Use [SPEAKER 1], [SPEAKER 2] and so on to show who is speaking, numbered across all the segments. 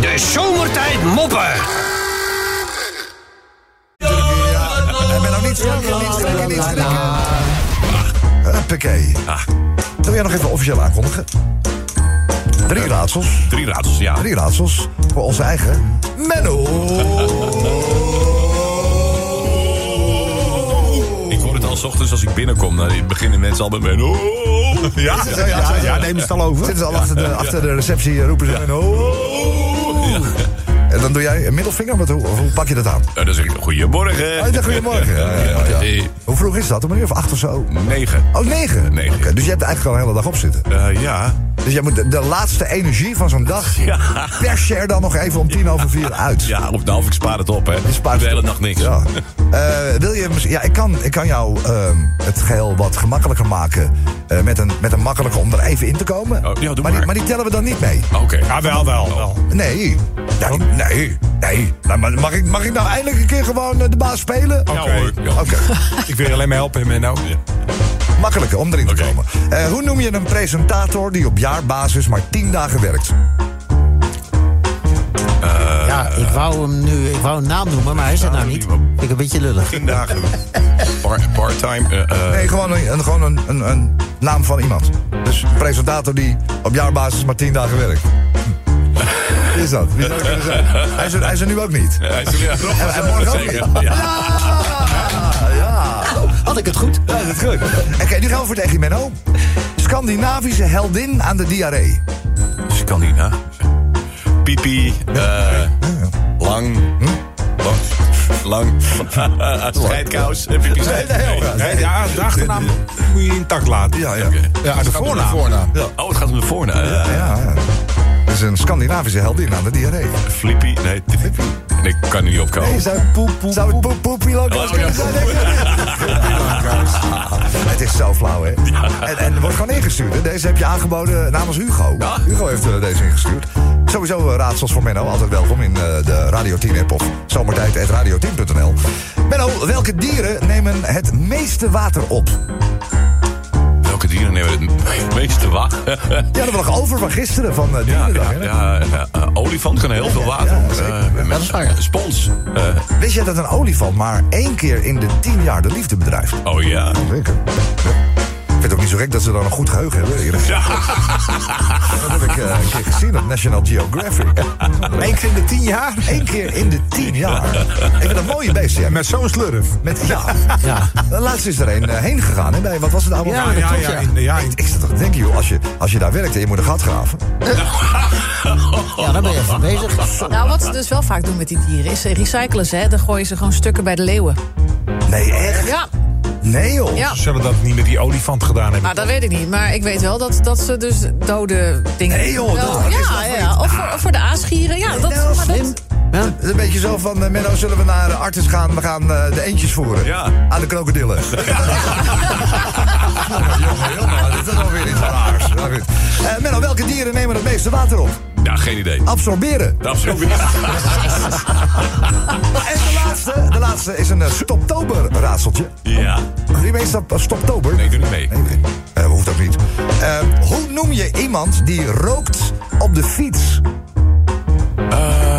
[SPEAKER 1] De zomertijd moppen.
[SPEAKER 2] Ik ben nou niet schrikken, niet schrikken, niet schrikken. Huppakee.
[SPEAKER 3] Ah,
[SPEAKER 2] Wil jij nog even officieel aankondigen? Drie raadsels.
[SPEAKER 3] drie raadsels, ja.
[SPEAKER 2] Drie raadsels voor onze eigen Menno.
[SPEAKER 3] Ik hoor het al 's ochtends als ik binnenkom. Dan beginnen mensen al met mij. Oh, ja, ja, ja, ja, neem het al over.
[SPEAKER 2] Zitten ze al achter de, achter de receptie eh, roepen ze Menno. En dan doe jij een middelvinger? Wat, hoe, hoe pak je dat aan?
[SPEAKER 3] Ja, Nou, dan zeg ik goedemorgen.
[SPEAKER 2] Oh, je zegt goedemorgen. Ja, ja, ja, ja. Hoe vroeg is dat? Om een uur of acht of zo?
[SPEAKER 3] Negen.
[SPEAKER 2] Oh, negen?
[SPEAKER 3] Negen.
[SPEAKER 2] Oké, dus je hebt er eigenlijk al een hele dag op zitten.
[SPEAKER 3] Eh, ja.
[SPEAKER 2] Dus jij moet de, de laatste energie van zo'n dag...
[SPEAKER 3] Ja.
[SPEAKER 2] pers je er dan nog even om tien over vier uit.
[SPEAKER 3] Ja, of nou, of ik spaar het op, hè. Ik
[SPEAKER 2] spaart
[SPEAKER 3] de
[SPEAKER 2] het
[SPEAKER 3] hele
[SPEAKER 2] op.
[SPEAKER 3] nacht niks.
[SPEAKER 2] Ja. Eh, wil je, misschien- ja, ik kan, ik kan jou ehm, het geheel wat gemakkelijker maken. eh, met, een, met een makkelijke om er even in te komen.
[SPEAKER 3] Oh, ja, doe
[SPEAKER 2] Die,
[SPEAKER 3] maar.
[SPEAKER 2] maar die tellen we dan niet mee.
[SPEAKER 3] Ah, Oké.
[SPEAKER 2] Ah,
[SPEAKER 4] Ja, wel, wel, wel.
[SPEAKER 2] Nee.
[SPEAKER 3] Oh.
[SPEAKER 2] Nee, nee. nee. Nou, maar mag, ik, mag ik nou eindelijk een keer gewoon eh, de baas spelen?
[SPEAKER 3] Ja,
[SPEAKER 4] Oké.
[SPEAKER 3] hoor. Ja.
[SPEAKER 2] Oké.
[SPEAKER 4] Ik wil je alleen maar helpen, Menno.
[SPEAKER 3] Oh. Ja.
[SPEAKER 2] Makkelijker om erin te
[SPEAKER 3] Oké.
[SPEAKER 2] komen. Eh, hoe noem je een presentator die op jaarbasis maar tien dagen werkt?
[SPEAKER 5] Ja, ik wou hem nu, ik wou een naam noemen, maar hij is het nou niet. Vind ik een beetje lullig.
[SPEAKER 3] Tien dagen. Part- Part-time. eh, eh,
[SPEAKER 2] Nee, gewoon, een, een- gewoon een, een, een naam van iemand. Dus een presentator die op jaarbasis maar tien dagen werkt. Wie is dat? Wie zou het kunnen zijn? Hij is, er, hij is er nu ook niet.
[SPEAKER 3] hij is er weer.
[SPEAKER 2] En, en morgen ook
[SPEAKER 3] Zeker.
[SPEAKER 2] niet.
[SPEAKER 3] Ja.
[SPEAKER 2] Ja, ja.
[SPEAKER 5] Had ik het goed?
[SPEAKER 2] Ja, dat is goed. Oké, nu gaan we voor het Echi Menno. Scandinavische heldin aan de diarree.
[SPEAKER 3] Scandina. Pipi. eh, lang. Lang. Lang. Scheidkous. Eh, Pipi scheid.
[SPEAKER 4] Nee, ja, de achternaam moet je intact laten.
[SPEAKER 2] Ja, ja.
[SPEAKER 3] Oké.
[SPEAKER 4] Ja, de voornaam.
[SPEAKER 3] Oh, het gaat om de voornaam. Eh,
[SPEAKER 2] Ja, ja. Dat is een Scandinavische heldin aan de diarree.
[SPEAKER 3] Flippy. Nee, Flippy. Nee, ik kan er niet opkomen.
[SPEAKER 2] Nee, zou het poep, poep, zou het poep, poep, pilootkaas
[SPEAKER 3] Oh, ja,
[SPEAKER 2] kunnen zijn? denk je? Het is zo flauw, hè? En, en er wordt gewoon ingestuurd. Hè? Deze heb je aangeboden namens Hugo.
[SPEAKER 3] Ja.
[SPEAKER 2] Hugo heeft eh, deze ingestuurd. Sowieso eh, raadsels voor Menno. Altijd welkom in eh, de Radio 10 app of zomertijd.radio10.nl. Menno, welke dieren nemen het meeste water op?
[SPEAKER 3] Welke dieren nemen het meeste water?
[SPEAKER 2] Ja, dat nog over van gisteren van eh,
[SPEAKER 3] Ja,
[SPEAKER 2] dierendag.
[SPEAKER 3] ja,
[SPEAKER 2] hè?
[SPEAKER 3] ja, ja, eh, olifant kan heel veel water.
[SPEAKER 2] ja, zeker.
[SPEAKER 3] Eh, met-
[SPEAKER 5] Dat is waar.
[SPEAKER 3] spons. Eh,
[SPEAKER 2] Wist jij dat een olifant maar één keer in de tien jaar de liefde bedrijft?
[SPEAKER 3] oh ja.
[SPEAKER 2] Zeker. Ja. Ik vind het ook niet zo gek dat ze dan een goed geheugen hebben. eerlijk gezegd. Dat heb ik eh, een keer gezien op National Geographic.
[SPEAKER 4] Eén keer in de tien jaar.
[SPEAKER 2] Eén keer in de tien jaar. Ik vind dat mooie beesten. Ja. Met,
[SPEAKER 4] Met zo'n slurf.
[SPEAKER 2] met, ja.
[SPEAKER 5] Ja.
[SPEAKER 2] Laatst is er een eh, heen gegaan. Hè? Bij, wat was het nou?
[SPEAKER 5] Ja, dat klopt, ja.
[SPEAKER 4] in de- ja, in-
[SPEAKER 2] Ik zat toch te denken, joh, als je, als je daar werkt en je moet een gat graven.
[SPEAKER 5] Ja, daar ben je van bezig.
[SPEAKER 6] Nou, wat ze dus wel vaak doen met die dieren is ze recyclen ze. Hè? Dan gooien ze gewoon stukken bij de leeuwen.
[SPEAKER 2] Nee, echt?
[SPEAKER 6] Ja,
[SPEAKER 2] Nee, joh.
[SPEAKER 6] ja.
[SPEAKER 4] Ze zullen dat niet met die olifant gedaan hebben.
[SPEAKER 6] Maar dat weet ik niet. Maar ik weet wel dat, dat ze dus dode dingen...
[SPEAKER 2] Nee, joh,
[SPEAKER 6] Wel-
[SPEAKER 2] dat- dat
[SPEAKER 6] ja,
[SPEAKER 2] is wel
[SPEAKER 6] ja, ja. Of, voor, of voor de aasgieren. Ja, dat,
[SPEAKER 2] nou,
[SPEAKER 6] maar
[SPEAKER 5] Slim.
[SPEAKER 6] dat,
[SPEAKER 5] Ja.
[SPEAKER 2] Het is Een beetje zo van, eh, Menno, zullen we naar eh, Artis gaan? We gaan eh, de eentjes voeren.
[SPEAKER 3] Ja.
[SPEAKER 2] Aan de krokodillen. Ja. jongen, jongen, dat is dan weer iets raars. Maar goed. Eh, Menno, welke dieren nemen het meeste water op?
[SPEAKER 3] Ja, geen idee.
[SPEAKER 2] Absorberen.
[SPEAKER 3] Dat is ook weer-
[SPEAKER 2] En de laatste, de laatste is een eh, stoptober-raadseltje.
[SPEAKER 3] Ja.
[SPEAKER 2] Wie weet stop, eh, stoptober?
[SPEAKER 3] Nee, doe niet mee.
[SPEAKER 2] Nee, nee. Eh, hoeft ook niet. Eh, hoe noem je iemand die rookt op de fiets?
[SPEAKER 3] Eh,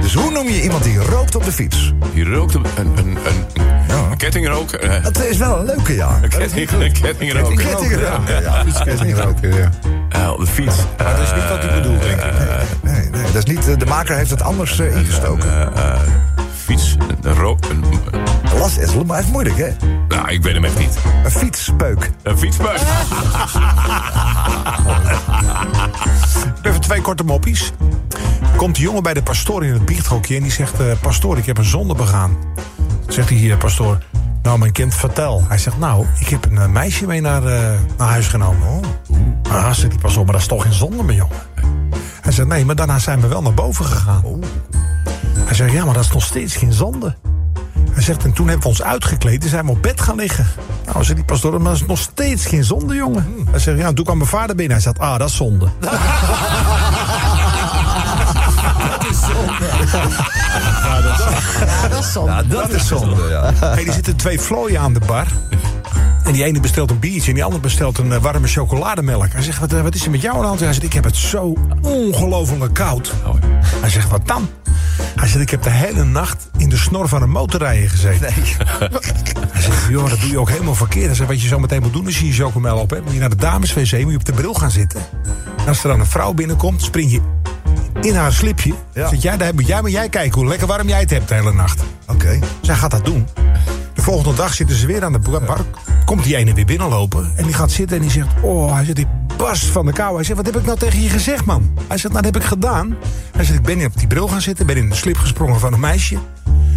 [SPEAKER 2] Dus hoe noem je iemand die rookt op de fiets?
[SPEAKER 3] hier rookt een, een, een, een,
[SPEAKER 2] Ja.
[SPEAKER 3] een kettingrook. eh, een
[SPEAKER 2] Dat is wel een leuke, ja.
[SPEAKER 3] ketting- een kettingrook.
[SPEAKER 2] Kettingroken, ja. Kettingroken, ja.
[SPEAKER 3] Eh, op de fiets. Eh,
[SPEAKER 4] dat is niet wat hij bedoelt, denk ik.
[SPEAKER 2] Eh, Nee, nee, dat is niet, eh, de maker heeft het anders eh, ingestoken.
[SPEAKER 3] Eh, eh, fiets. Een rook. Een,
[SPEAKER 2] Last is, maar het is moeilijk, hè?
[SPEAKER 3] nou, ik weet hem echt niet.
[SPEAKER 2] Een fietspeuk.
[SPEAKER 3] Een fietsbuik.
[SPEAKER 4] Even twee korte moppies. Komt de jongen bij de pastoor in het biechthokje en die zegt... eh, pastoor, ik heb een zonde begaan. Zegt hij hier, pastoor. Nou, mijn kind, vertel. Hij zegt, nou, ik heb een eh, meisje mee naar, eh, naar huis genomen. Oh. Ah, zegt hij, pas op, maar dat is toch geen zonde, mijn jongen. Hij zegt, nee, maar daarna zijn we wel naar boven gegaan. Hij zegt, ja, maar dat is nog steeds geen zonde. Hij zegt, en toen hebben we ons uitgekleed en zijn we op bed gaan liggen. Nou, zegt die pastoor, maar dat is nog steeds geen zonde, jongen. Hij zegt, ja, toen kwam mijn vader binnen. Hij zegt, ah, dat is zonde.
[SPEAKER 6] ja, dat is zonde.
[SPEAKER 2] dat is zonde, ja.
[SPEAKER 6] ah,
[SPEAKER 4] Hey, er zitten twee vlooien aan de bar. En die ene bestelt een biertje en die ander bestelt een eh, warme chocolademelk. Hij zegt, wat, eh, wat is er met jou aan de hand? Hij zegt, ik heb het zo ongelooflijk koud.
[SPEAKER 3] Oh,
[SPEAKER 4] Hij zegt, wat dan? Hij zegt, ik heb de hele nacht in de snor van een motorrijder gezeten. Hij zegt, joh, dat doe je ook helemaal verkeerd. Hij zegt, wat je zo meteen moet doen is je je chocomel op. Hè? Moet je naar de dameswc, moet je op de bril gaan zitten. En als er dan een vrouw binnenkomt, spring je in haar slipje.
[SPEAKER 2] Ja.
[SPEAKER 4] Zit jij, daar moet jij maar jij kijken hoe lekker warm jij het hebt de hele nacht.
[SPEAKER 2] Oké.
[SPEAKER 4] Zij gaat dat doen. De volgende dag zitten ze weer aan de bar. bar. Komt die ene weer binnenlopen. En die gaat zitten en die zegt... Oh, hij zegt, die barst van de kou. Hij zegt, wat heb ik nou tegen je gezegd, man? Hij zegt, nou, dat heb ik gedaan. Hij zegt, ik ben op die bril gaan zitten. Ben in de slip gesprongen van een meisje.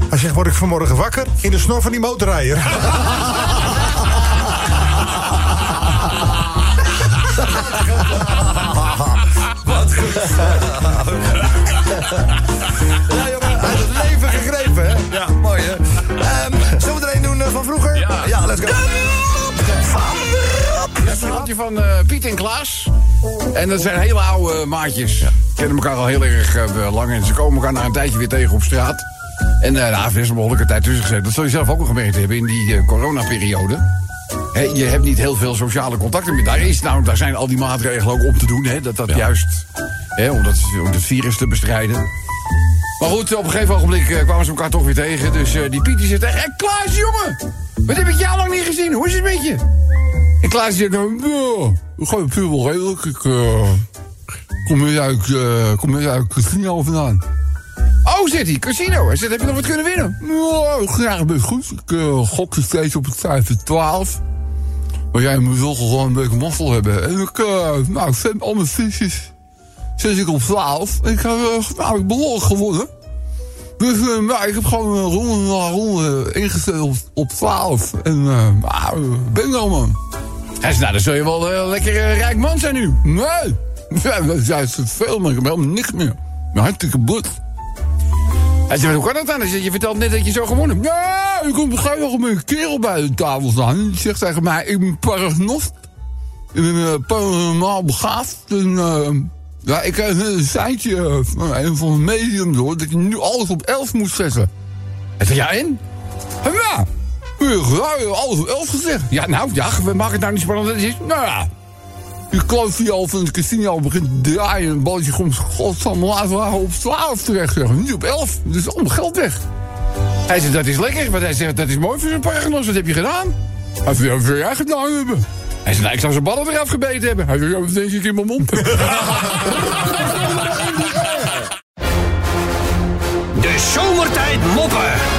[SPEAKER 4] Hij zegt, word ik vanmorgen wakker? In de snor van die motorrijder.
[SPEAKER 2] Ja, jongen, uit het leven gegrepen, hè? Ja. Mooi, hè? Ehm, zullen we er een doen eh, van vroeger?
[SPEAKER 1] Ja.
[SPEAKER 2] let's go.
[SPEAKER 1] Ja, dat had je van eh, Piet en Klaas. En dat zijn hele oude maatjes. Kennen elkaar al heel erg eh, lang. En ze komen elkaar na een tijdje weer tegen op straat. En eh nou, er is een behoorlijke tijd tussen gezet. Dat zul je zelf ook nog gemerkt hebben in die eh, coronaperiode. Hè, je hebt niet heel veel sociale contacten meer. Daar, is, nou, daar zijn al die maatregelen ook om te doen. Hè, dat dat juist, hè, om, dat, om dat virus te bestrijden. Maar goed, op een gegeven ogenblik eh, kwamen ze elkaar toch weer tegen. Dus eh, die Piet die zegt echt... "Hé, Klaas, jongen! Wat heb ik jou lang niet gezien? Hoe is het met je? En Klaas zegt... nou, "Ja, ik ga het puur wel redelijk. Ik eh, kom weer uit, eh, kom weer uit casino vandaan. Oh, zit hij, casino. Hij zegt, heb je nog wat kunnen winnen? Nou, graag best goed. Ik eh, gokte steeds op het cijfer 12. Maar jij moet wel gewoon een beetje mossel hebben. En ik, eh nou, ik vind al mijn visjes sinds ik op 12. Ik heb, eh, nou, ik behoorlijk gewonnen. Dus eh, nou, ik heb gewoon een ronde na ronde ingesteld op, op 12. En eh, ah, bingo man. Hij zei, nou, dan zul je wel eh, lekker eh, rijk man zijn nu. Nee, ja, dat is juist het veel, maar ik heb helemaal niks meer. Mijn hartstikke blut. Hij zei, hoe kan dat dan? Hij zei, je vertelt net dat je zo gewonnen hebt. Nee, ik kom ga nog met een kerel bij de tafel staan. En die zegt tegen mij, ik ben paragnost. Ik ben eh, paranormaal begaafd. En, eh, ja, ik heb een seintje eh, van een van de medium door dat je nu alles op 11 moet zetten. Hij zei, ja en? En ja, ik heb alles op 11 gezegd. Ja, nou, ja, we maken het nou niet spannend. Dat is, nou ja. Je kloof die al van het casino begint te draaien. en Een balletje komt godsamme laten we haar op 12 terecht. Zeggen. Niet op 11, dus al mijn geld weg. Hij zegt, dat is lekker. Want hij zegt, dat is mooi voor zo'n paragnos. Wat heb je gedaan? Hij zegt, ja, wat wil jij gedaan hebben? Hij zegt, nou, ik zou zijn ballen eraf gebeten hebben. Hij zegt, ja, wat denk ik in mijn mond?
[SPEAKER 7] De zomertijd moppen.